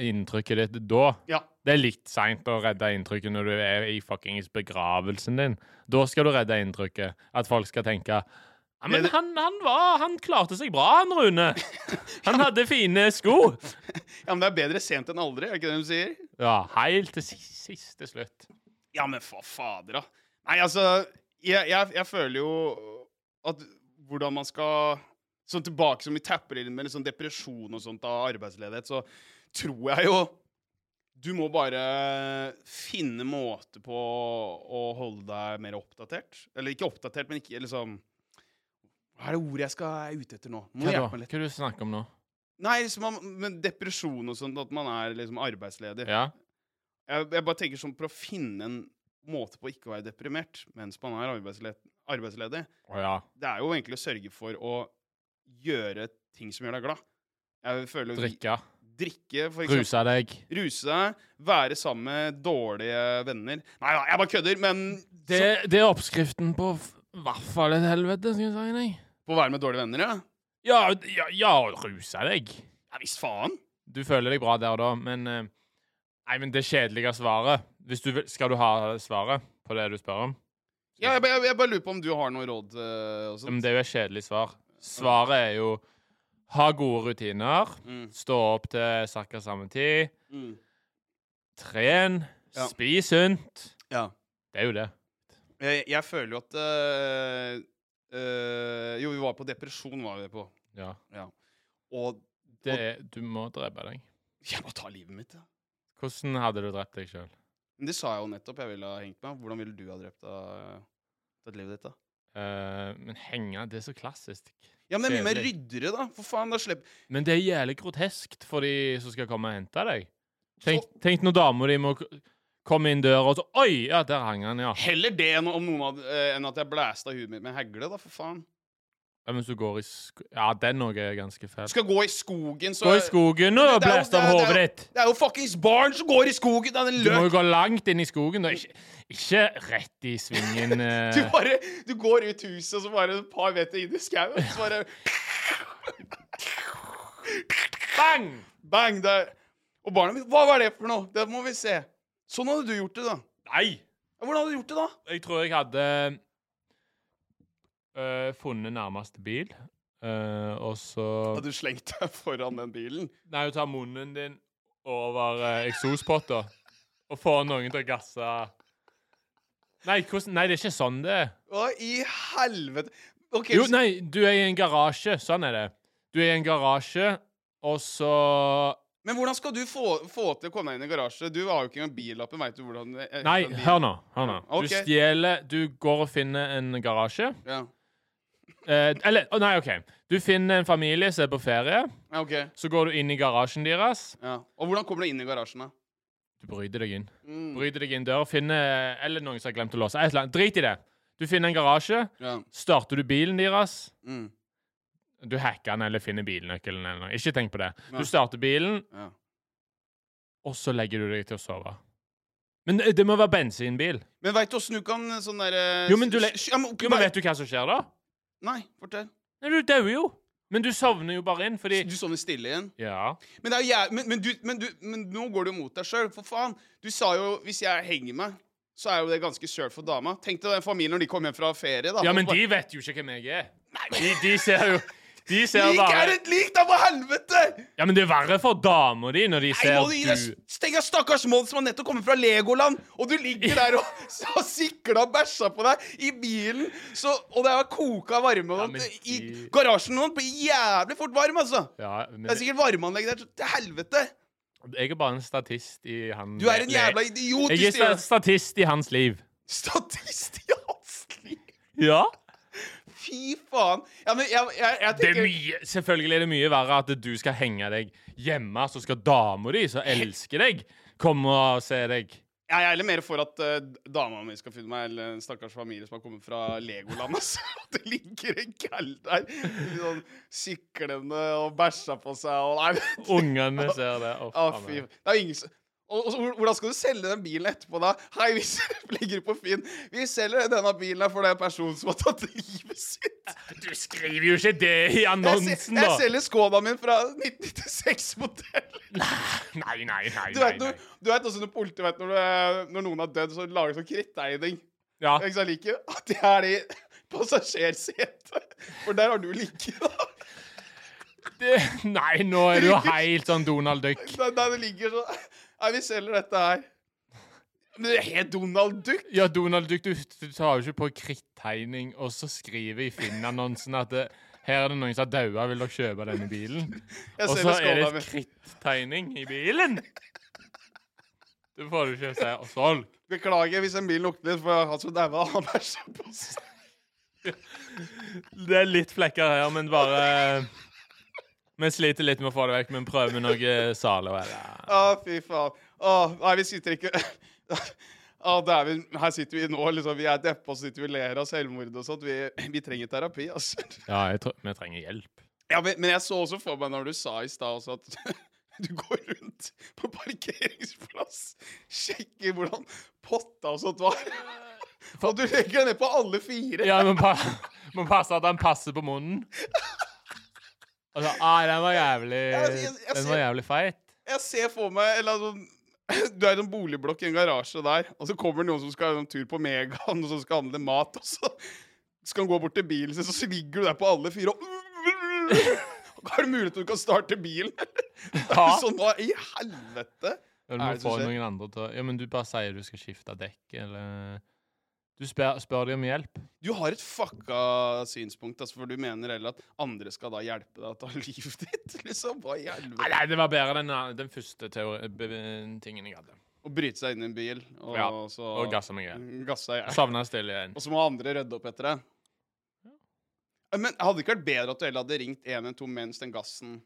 Speaker 3: inntrykket ditt da.
Speaker 2: Ja.
Speaker 3: Det er litt seint å redde inntrykket når du er i fuckings begravelsen din. Da skal du redde inntrykket. At folk skal tenke ja, men
Speaker 2: Det-
Speaker 3: han, han var Han klarte seg bra, han Rune. Han hadde fine sko.
Speaker 2: ja, men det er bedre sent enn aldri, er det ikke det de sier?
Speaker 3: Ja, helt til si- siste slutt.
Speaker 2: Ja, men for fader, da. Nei, altså, jeg, jeg, jeg føler jo at hvordan man skal Sånn tilbake som vi tapper inn med litt sånn depresjon og sånt av arbeidsledighet, så tror jeg jo Du må bare finne måte på å holde deg mer oppdatert. Eller ikke oppdatert, men ikke liksom Hva er det ordet jeg skal er ute etter nå? Må du
Speaker 3: Hva da?
Speaker 2: hjelpe
Speaker 3: Hva
Speaker 2: meg litt?
Speaker 3: er det du snakker om nå?
Speaker 2: Nei, liksom, man- men depresjon og sånt, at man er liksom arbeidsledig.
Speaker 3: Ja?
Speaker 2: Jeg, jeg bare tenker sånn for å finne en måte på å ikke være deprimert mens man er arbeidsled, arbeidsledig,
Speaker 3: Å ja.
Speaker 2: det er jo egentlig å sørge for å gjøre ting som gjør deg glad. Jeg føler
Speaker 3: Drikke.
Speaker 2: Drikke, for eksempel.
Speaker 3: Ruse deg.
Speaker 2: Ruse deg. Være sammen med dårlige venner. Nei da, jeg bare kødder, men sånn,
Speaker 3: Det, det er oppskriften på f- hvert fall et helvete, skal jeg si deg.
Speaker 2: på å være med dårlige venner, ja.
Speaker 3: Ja, ja, ja ruse deg.
Speaker 2: Ja visst faen.
Speaker 3: Du føler deg bra der og da, men eh, Nei, men det kjedelige svaret hvis du, vil- Skal du ha svaret på det du spør om?
Speaker 2: Ja, jeg, bare- jeg, jeg bare lurer på om du har noe råd eh, og
Speaker 3: Ja,
Speaker 2: sånt.
Speaker 3: Men det er jo et kjedelig svar. Svaret er jo ha gode rutiner,
Speaker 2: Mm.
Speaker 3: stå opp til cirka samme tid,
Speaker 2: Mm.
Speaker 3: tren,
Speaker 2: Ja.
Speaker 3: spis sunt.
Speaker 2: Ja.
Speaker 3: Det er jo det.
Speaker 2: Jeg, jeg føler jo at eh, eh, Jo, vi var på depresjon, var vi på.
Speaker 3: Ja.
Speaker 2: Og
Speaker 3: Det er, du må drepe deg.
Speaker 2: Jeg må ta livet mitt, ja.
Speaker 3: Hvordan hadde du drept deg sjøl?
Speaker 2: Men det sa jeg jo nettopp. Jeg ville ha hengt meg. Hvordan ville du ha drept deg? Tatt livet ditt, da?
Speaker 3: Eh, men henge, det er så klassisk.
Speaker 2: Ja, men det er mye mer
Speaker 3: Kjedelig.
Speaker 2: ryddere, da. For faen, da slipper
Speaker 3: Men det er jævlig groteskt for de som skal komme og hente deg. Tenk, tenk når dama di må k- komme inn døra, og så Oi! Ja, der hang han, ja.
Speaker 2: Heller det enn, om noen hadde, eh, enn at jeg blæsta huet mitt med en hegle, da, for faen.
Speaker 3: Ja, men hvis du går i sk... Ja, den òg er ganske fæl.
Speaker 2: Skal gå i skogen, så
Speaker 3: Gå i skogen og
Speaker 2: Det er jo-
Speaker 3: blæst av
Speaker 2: det er-
Speaker 3: hodet
Speaker 2: det er-
Speaker 3: ditt!
Speaker 2: Det er jo fuckings barn som går i skogen! Det er en
Speaker 3: Du må
Speaker 2: løk!
Speaker 3: jo gå langt inn i skogen. Da. Ikke, ikke rett i svingen. eh.
Speaker 2: Du bare Du går ut huset, og så bare et par meter inn i skauen, og så bare
Speaker 3: Bang!
Speaker 2: bang! Der. Og barna mine Hva var det for noe? Det må vi se. Sånn hadde du gjort det, da.
Speaker 3: Nei!
Speaker 2: Ja, Hvordan hadde du gjort det, da?
Speaker 3: Jeg tror jeg hadde eh, funnet nærmeste bil, eh, og så
Speaker 2: Hadde du slengt deg foran den bilen?
Speaker 3: Nei, du tar munnen din over eh, eksospotta og får noen til å gasse Nei, hvordan, nei, det er ikke sånn det er.
Speaker 2: Hva i helvete? Ok,
Speaker 3: Jo,
Speaker 2: så-
Speaker 3: nei, du er i en garasje. Sånn er det. Du er i en garasje, og så
Speaker 2: Men hvordan skal du få, få til å komme deg inn i garasje? Du har jo ikke engang billappen. Vet du hvordan eh,
Speaker 3: Nei,
Speaker 2: hvordan bil-
Speaker 3: hør nå. Hør nå.
Speaker 2: Ok.
Speaker 3: Du stjeler Du går og finner en garasje.
Speaker 2: Ja.
Speaker 3: Eh, eller å Nei, OK. Du finner en familie som er på ferie.
Speaker 2: ja, ok.
Speaker 3: Så går du inn i garasjen deres.
Speaker 2: Ja. Og hvordan kommer du inn i garasjen, da?
Speaker 3: Du bryter deg inn.
Speaker 2: Mm.
Speaker 3: Bryter deg inn døra, finner eh, Eller noen som har glemt å låse. Et eller annet. Drit i det. Du finner en garasje.
Speaker 2: Ja.
Speaker 3: Starter du bilen deres.
Speaker 2: Mm.
Speaker 3: Du hacker den eller finner bilnøkkelen eller noe. Ikke tenk på det.
Speaker 2: Nei.
Speaker 3: Du starter bilen,
Speaker 2: Ja.
Speaker 3: og så legger du deg til å sove. Men eh, det må være bensinbil.
Speaker 2: Men veit du åssen du kan eh, sånn derre
Speaker 3: Jo, men du le-
Speaker 2: ja, men,
Speaker 3: Jo, men vet du hva som skjer da?
Speaker 2: Nei, fortell.
Speaker 3: Nei, du dauer jo. Men du sovner jo bare inn fordi
Speaker 2: Du sovner stille igjen?
Speaker 3: Ja.
Speaker 2: Men, det er jo jæv- men, men, du, men, du, men nå går du mot deg sjøl, for faen. Du sa jo hvis jeg henger meg, så er jo det ganske kjørt for dama. Tenk deg den familien når de kom hjem fra ferie, da.
Speaker 3: Ja, men
Speaker 2: Og bare-
Speaker 3: de vet jo ikke hvem jeg er. De, de ser jo De ser
Speaker 2: Lik er
Speaker 3: bare
Speaker 2: et lik, da, for helvete!
Speaker 3: Ja, men det er verre for dama di når de
Speaker 2: Nei,
Speaker 3: ser
Speaker 2: må du gi deg
Speaker 3: du
Speaker 2: s- Tenk deg stakkars Maud som har nettopp kommet fra Legoland, og du ligger der og har sikla og bæsja på deg i bilen, så, og det er koka varme og
Speaker 3: Ja,
Speaker 2: sånt.
Speaker 3: men
Speaker 2: i
Speaker 3: de-
Speaker 2: garasjen nå blir jævlig fort varm, altså.
Speaker 3: Ja,
Speaker 2: Det er
Speaker 3: men
Speaker 2: sikkert varmeanlegg der til helvete.
Speaker 3: jeg er bare en statist i han
Speaker 2: Du er en jævla idiot.
Speaker 3: Jeg er
Speaker 2: du sier-
Speaker 3: sta- statist i hans liv.
Speaker 2: Statist i hans liv.
Speaker 3: Ja?
Speaker 2: Fy faen. Ja, men jeg, jeg, jeg
Speaker 3: Det er
Speaker 2: tenker
Speaker 3: mye, selvfølgelig er det mye verre at du skal henge deg hjemme, så skal dama di, som elsker deg, komme og se deg.
Speaker 2: Jeg er heller mer for at eh, dama mi skal finne meg, eller en stakkars familie som har kommet fra Legoland. Altså. At Det ligger en kall der, litt sånn syklende og bæsja på seg og Nei, men
Speaker 3: Ungene ser det. Å,
Speaker 2: Å,
Speaker 3: faen
Speaker 2: fy.
Speaker 3: meg.
Speaker 2: Det er jo ingen som og, og, så hvor- Hvordan skal du selge den bilen etterpå, da? Hei, vi selger- legger på Finn. Vi selger denne bilen her for den personen som har tatt livet sitt.
Speaker 3: Du skriver jo ikke det i
Speaker 2: Jeg,
Speaker 3: annonsen,
Speaker 2: sel- jeg
Speaker 3: da!
Speaker 2: selger Skoda min fra 1996-modell.
Speaker 3: Nei, nei, nei.
Speaker 2: Du
Speaker 3: nei,
Speaker 2: vet,
Speaker 3: nei.
Speaker 2: når, du vet også når politiet vet når, du, når noen har dødd, så lager de sånn krittegning.
Speaker 3: Ja.
Speaker 2: Ikke sant, like? At det er i passasjersetet. For der har du like, da.
Speaker 3: Det, nei, nå er du jo helt sånn Donald Duck.
Speaker 2: Der, der det ligger så Nei, vi selger dette her. Men det er helt Donald Duck.
Speaker 3: Ja, Donald Duck, du, du tar jo ikke på krittegning og så skriver i Finn-annonsen at det, her er det noen som har daua, vil dere kjøpe denne bilen?
Speaker 2: Jeg
Speaker 3: Og
Speaker 2: ser
Speaker 3: så
Speaker 2: det
Speaker 3: er det
Speaker 2: skåla mi.
Speaker 3: et krittegning i bilen! Det får du ikke si. Og solg.
Speaker 2: Beklager hvis den bilen lukter litt, for han som daua, han bæsja på seg.
Speaker 3: Det er litt flekker her, men bare eh, Vi sliter litt med å få det vekk, men prøver med noe eh, Zalo. eller-
Speaker 2: Å, fy faen. Å, nei, vi sitter ikke Å, dæven. Her sitter vi nå, liksom. Vi er deppa, og så sitter vi og ler av selvmord og sånt. Vi, vi trenger terapi, altså.
Speaker 3: Ja, jeg tror vi trenger hjelp.
Speaker 2: Ja, men, men jeg så også for meg når du sa i stad også at du går rundt på parkeringsplass, sjekker hvordan potta og sånt var. Og du legger deg ned på alle fire.
Speaker 3: Ja, men pa må passe at han passer på munnen. Altså, ah, den var jævlig
Speaker 2: jeg- jeg
Speaker 3: Den var
Speaker 2: ser-
Speaker 3: jævlig feit.
Speaker 2: Jeg ser for meg eller, sånn- Du er i en boligblokk i en garasje der, og så kommer det noen som skal ha en tur på Megaen og som skal handle mat, og så skal han gå bort til bilen sin, så ligger du der på alle fire og Er det mulig at du kan starte bilen?
Speaker 3: Ja.
Speaker 2: Sånn, hva i helvete?
Speaker 3: Ja,
Speaker 2: Hva
Speaker 3: Du
Speaker 2: er
Speaker 3: må
Speaker 2: det som
Speaker 3: få
Speaker 2: skjer?
Speaker 3: noen andre til å Ja, men du bare sier du skal skifte dekk, eller Du spør, spør dem om hjelp.
Speaker 2: Du har et fucka synspunkt, altså, for du mener heller at andre skal da hjelpe deg å ta livet ditt? Liksom, hva i
Speaker 3: Nei,
Speaker 2: helvete?
Speaker 3: nei, det var bedre den, eh, den første teori, be, tingen jeg hadde.
Speaker 2: Å bryte seg inn i en bil, og
Speaker 3: Ja,
Speaker 2: så
Speaker 3: Og gassa meg igjen.
Speaker 2: gassa i hjel.
Speaker 3: Savna stille igjen.
Speaker 2: Mm. Og så må andre rydde opp etter deg. Men hadde det ikke vært bedre at du heller hadde ringt 112 mens den gassen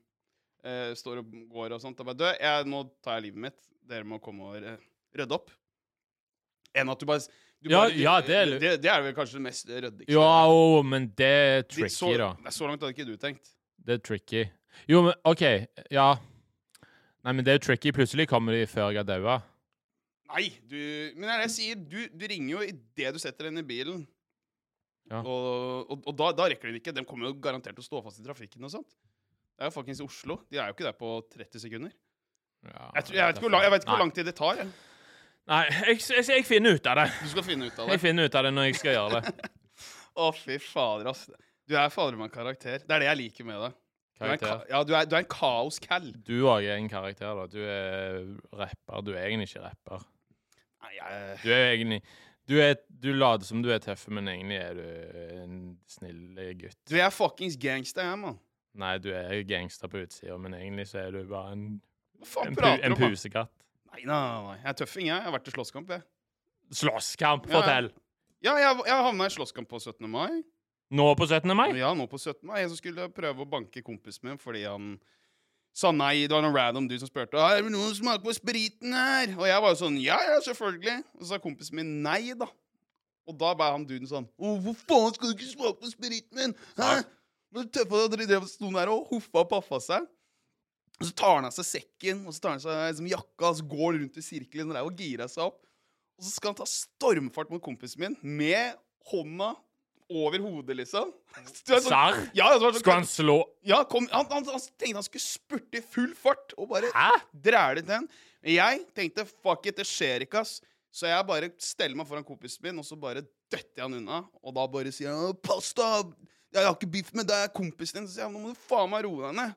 Speaker 2: eh, står og går og sånt? Og bare, du, jeg, nå tar jeg livet mitt. Dere må komme og eh, rydde opp. Enn at du bare s- Du
Speaker 3: Ja,
Speaker 2: bare-
Speaker 3: ja, det er
Speaker 2: det,
Speaker 3: litt-
Speaker 2: det, er vel kanskje det mest ryddige.
Speaker 3: Jo, au, men det er
Speaker 2: Litt så,
Speaker 3: tricky, da.
Speaker 2: Nei, så langt hadde ikke du tenkt.
Speaker 3: Det er tricky. Jo, men OK. Ja. Nei, men det er tricky. Plutselig kommer de før jeg har daua.
Speaker 2: Nei, du Men det er det jeg sier. Du, du ringer jo idet du setter den i bilen.
Speaker 3: Ja.
Speaker 2: Og, og, og da, da rekker de det ikke. De kommer jo garantert til å stå fast i trafikken og sånt. Det er jo fuckings Oslo. De er jo ikke der på 30 sekunder. Jeg, tror, jeg, vet, ikke hvor lang, jeg vet ikke hvor lang tid det tar. Jeg.
Speaker 3: Nei, jeg, jeg, jeg finner ut av det.
Speaker 2: Du skal finne ut av det.
Speaker 3: Jeg finner ut av det når jeg skal gjøre det.
Speaker 2: Å, fy fader, ass. Du er fader meg en karakter. Det er det jeg liker med deg. Du er en,
Speaker 3: Karakter.
Speaker 2: ka- ja, du er, du er en kaos-cal.
Speaker 3: Du òg er en karakter, da. Du er rapper. Du er egentlig ikke rapper.
Speaker 2: Nei, jeg-
Speaker 3: Du er egentlig Du, er, du later som du er tøff, men egentlig er du en snill gutt.
Speaker 2: Du, jeg er fuckings gangster, jeg, mann.
Speaker 3: Nei, du er gangster på utsida, men egentlig så er du bare en,
Speaker 2: Hva faen
Speaker 3: en, pu,
Speaker 2: prater
Speaker 3: en
Speaker 2: du om? mann?
Speaker 3: pusekatt.
Speaker 2: Nei, nei, nei. Jeg er tøffing, jeg. Jeg har vært i slåsskamp, jeg.
Speaker 3: Slåsskamp,
Speaker 2: Ja, ja.
Speaker 3: fortell!
Speaker 2: Ja, jeg, jeg havna i slåsskamp på 17. mai.
Speaker 3: Nå på 17. mai?
Speaker 2: Ja, nå på 17. mai. Jeg som skulle prøve å banke kompisen min fordi han sa nei. Det var noen random dude som spurte Er det noen som smaker på spriten her. Og jeg var jo sånn Ja, ja, selvfølgelig. Og så sa kompisen min nei, da. Og da ble han duden sånn Å, hvor faen skal du ikke smake på spriten min? Hæ? Når tøffa dere drev sto der og hoffa og paffa seg. Og så tar han av seg sekken og så tar han av seg liksom, jakka og så går han rundt i sirkelen der og girer seg opp. Og så skal han ta stormfart mot kompisen min med hånda over hodet, liksom. Så det er sånn-
Speaker 3: Serr?
Speaker 2: Ja, det var sånn-
Speaker 3: Skulle han slå
Speaker 2: ja, kom, han, han, han tenkte han skulle spurte i full fart og bare
Speaker 3: Hæ?
Speaker 2: dræle til den. Men jeg tenkte fuck it, det skjer ikke, ass. Så jeg bare steller meg foran kompisen min, og så bare døtter jeg han unna. Og da bare sier han 'pass, da! Jeg har ikke beef med deg, jeg er kompisen din'. Så sier jeg 'nå må du faen meg roe deg ned'.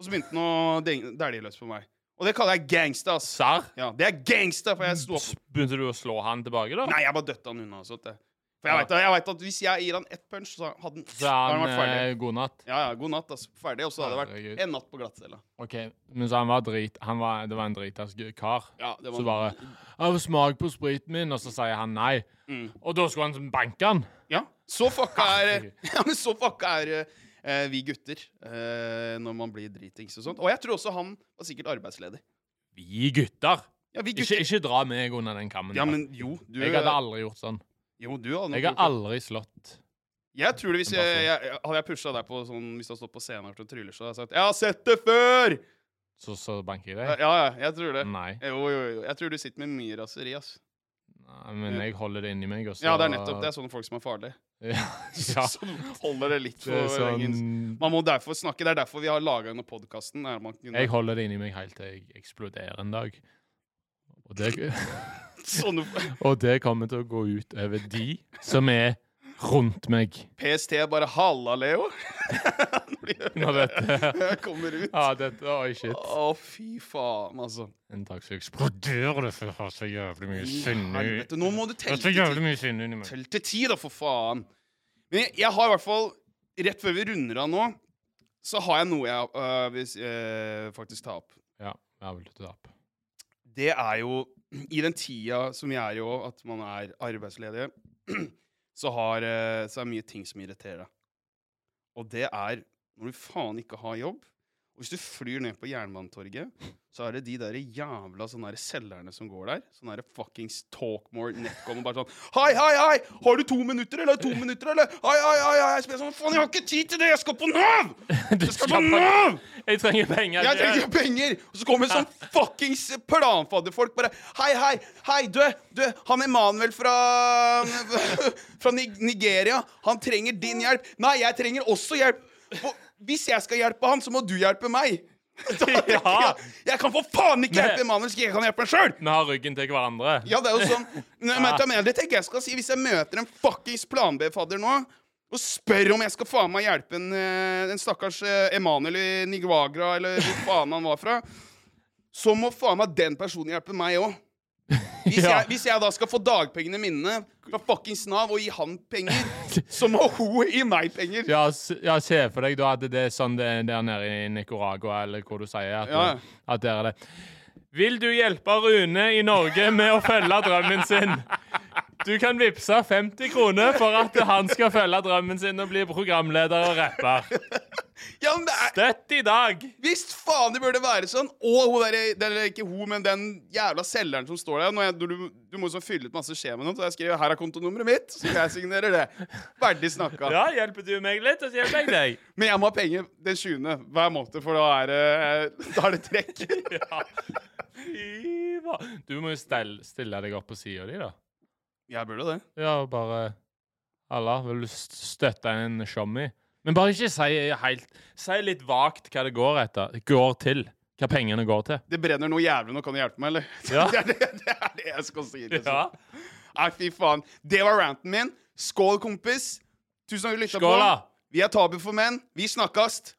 Speaker 2: Og så begynte han å deng- dælje løs på meg. Og det kaller jeg gangsta, ass.
Speaker 3: Serr?
Speaker 2: Ja, det er gangsta, for jeg sto opp
Speaker 3: S- Begynte du å slå han tilbake, da?
Speaker 2: Nei, jeg bare døtta han unna. og Sånt, jeg. For jeg
Speaker 3: Ja.
Speaker 2: vet, jeg vet at hvis jeg gir han ett punch, så hadde han,
Speaker 3: Så
Speaker 2: hadde
Speaker 3: han
Speaker 2: han vært ferdig.
Speaker 3: eh, god natt.
Speaker 2: Ja, ja, god natt, ass. Ferdig. Og så hadde det
Speaker 3: Herregud.
Speaker 2: vært en natt på glattcella.
Speaker 3: OK, men så han var drit... Han var, det var en dritass gu- kar.
Speaker 2: Ja, det var-
Speaker 3: Så bare 'Jeg vil smake på spriten min', og så sier han nei. Og da skulle han banke han.
Speaker 2: mm. Ja, så fucka er eh, Ja, men så fucka er eh, vi gutter eh, når man blir dritings og sånt. Og jeg tror også han var sikkert arbeidsledig.
Speaker 3: Vi gutter.
Speaker 2: Ja, vi
Speaker 3: Ikke,
Speaker 2: gutter.
Speaker 3: ikke dra meg under den kammen.
Speaker 2: Ja,
Speaker 3: der.
Speaker 2: men jo, du
Speaker 3: jeg hadde aldri gjort sånn.
Speaker 2: Jo, du hadde nok
Speaker 3: Jeg har
Speaker 2: gjort det.
Speaker 3: aldri slått.
Speaker 2: Jeg tror det hvis jeg,
Speaker 3: Bare sånn.
Speaker 2: jeg, jeg Hadde jeg pusha deg på sånn hvis du hadde stått på scenen her og tryller, så hadde jeg sagt 'Jeg har sett det før!'
Speaker 3: Så, så banker jeg
Speaker 2: Ja,
Speaker 3: deg?
Speaker 2: ja, jeg tror det.
Speaker 3: Nei.
Speaker 2: Eh, Jo, jo, jo. Jeg tror du sitter med mye raseri, ass.
Speaker 3: Nei, men jeg holder det inni meg. Og så,
Speaker 2: Ja, det er nettopp det. er sånne folk som er farlige.
Speaker 3: Ja,
Speaker 2: Ja. Så du holder det litt
Speaker 3: det er
Speaker 2: for lenge.
Speaker 3: sånn
Speaker 2: Man må derfor snakke. Det er derfor vi har laga denne podkasten.
Speaker 3: Jeg holder det inni meg helt til jeg eksploderer en dag. Og det,
Speaker 2: Sånne
Speaker 3: og det kommer til å gå ut over de som er rundt meg.
Speaker 2: PST bare 'halla, Leo'. Når de hører
Speaker 3: Når dette
Speaker 2: jeg kommer ut.
Speaker 3: Ja, dette Oi, Ah, shit.
Speaker 2: Å, fy faen, altså.
Speaker 3: En dag så eksploderer det, for jeg har så jævlig mye
Speaker 2: I
Speaker 3: sinne i-
Speaker 2: Helvete, nå må du
Speaker 3: Jeg
Speaker 2: telle
Speaker 3: har så
Speaker 2: til ti.
Speaker 3: jævlig mye sinne inni meg.
Speaker 2: Tell til ti, da, for faen. Men jeg, jeg har i hvert fall, rett før vi runder av nå, så har jeg noe jeg øh, vil s- øh, faktisk ta opp.
Speaker 3: Ja, jeg har vel tatt opp.
Speaker 2: Det er jo I den tida som vi er i òg, at man er arbeidsledige, så, har, øh, så er det mye ting som irriterer deg. Og det er når du faen ikke har jobb. Og hvis du flyr ned på Jernbanetorget, så er det de der jævla sånne der selgerne som går der. Sånne der fuckings Talkmore Netcom og bare sånn Hei, hei, hei! Har du to minutter, eller? To minutter, eller? Hei, hei, hei! hei. Jeg spør sånn Faen, jeg har ikke tid til det! Jeg skal på Nav!
Speaker 3: Du
Speaker 2: Jeg skal
Speaker 3: skal
Speaker 2: på
Speaker 3: på-
Speaker 2: Nav!
Speaker 3: Jeg trenger penger!
Speaker 2: Jeg trenger penger! Og så kommer det sånn fuckings planfadderfolk bare Hei, hei, hei, du, du, han Emanuel fra, fra Ni- Nigeria, han trenger din hjelp. Nei, jeg trenger også hjelp. Og Hvis jeg skal hjelpe han, så må du hjelpe meg. Da tenker
Speaker 3: Ja.
Speaker 2: jeg, jeg kan for faen ikke hjelpe Emanuel, så jeg kan hjelpe meg sjøl!
Speaker 3: Vi har ryggen til hverandre.
Speaker 2: Ja, det er jo sånn Nei, men, vet du hva jeg mener? Det tenker jeg skal si Hvis jeg møter en fuckings plan-B-fadder nå og spør om jeg skal faen meg hjelpe en, eh, en stakkars eh, Emanuel i Nigagra, eller hvor faen han var fra, så må faen meg den personen hjelpe meg òg. Hvis,
Speaker 3: Ja.
Speaker 2: jeg- hvis jeg da skal få dagpengene mine fra fuckings Nav og gi han penger, så må hun gi meg penger.
Speaker 3: Ja, s- ja, se for deg da at det er sånn det er der nede i Nicaragua, eller hvor du sier at,
Speaker 2: Ja.
Speaker 3: at der er det. Vil du hjelpe Rune i Norge med å følge drømmen sin? Du kan vippse 50 kroner for at han skal følge drømmen sin og bli programleder og rapper.
Speaker 2: Ja, men det er
Speaker 3: Støtt i dag!
Speaker 2: Visst faen det burde være sånn! Og hun der, eller ikke hun, men den jævla selgeren som står der. Når jeg, du, du må liksom fylle ut masse skjema, nå, så jeg skrev 'her er kontonummeret mitt', så jeg signerer det. Ferdig snakka.
Speaker 3: Ja, hjelper du meg litt, og så hjelper jeg deg.
Speaker 2: Men jeg må ha penger den 20. hver måned, for da er det, eh, da er det trekk.
Speaker 3: Ja. Fy faen. Du må jo stell, stille deg opp på sida di, da.
Speaker 2: Jeg burde det.
Speaker 3: Ja, og bare Alla, vil du st- støtte en shommy? Men bare ikke si helt Si litt vagt hva det går etter. Går til. Hva pengene går til.
Speaker 2: Det brenner noe jævlig nå, kan du hjelpe meg, eller?
Speaker 3: Ja.
Speaker 2: Det, er det, det er det jeg skal si. Liksom.
Speaker 3: Ja.
Speaker 2: Nei, fy faen. Det var ranten min. Skål, kompis. Tusen takk for at du lytta på.
Speaker 3: Skål, da.
Speaker 2: Vi er Tabu for menn. Vi snakkast.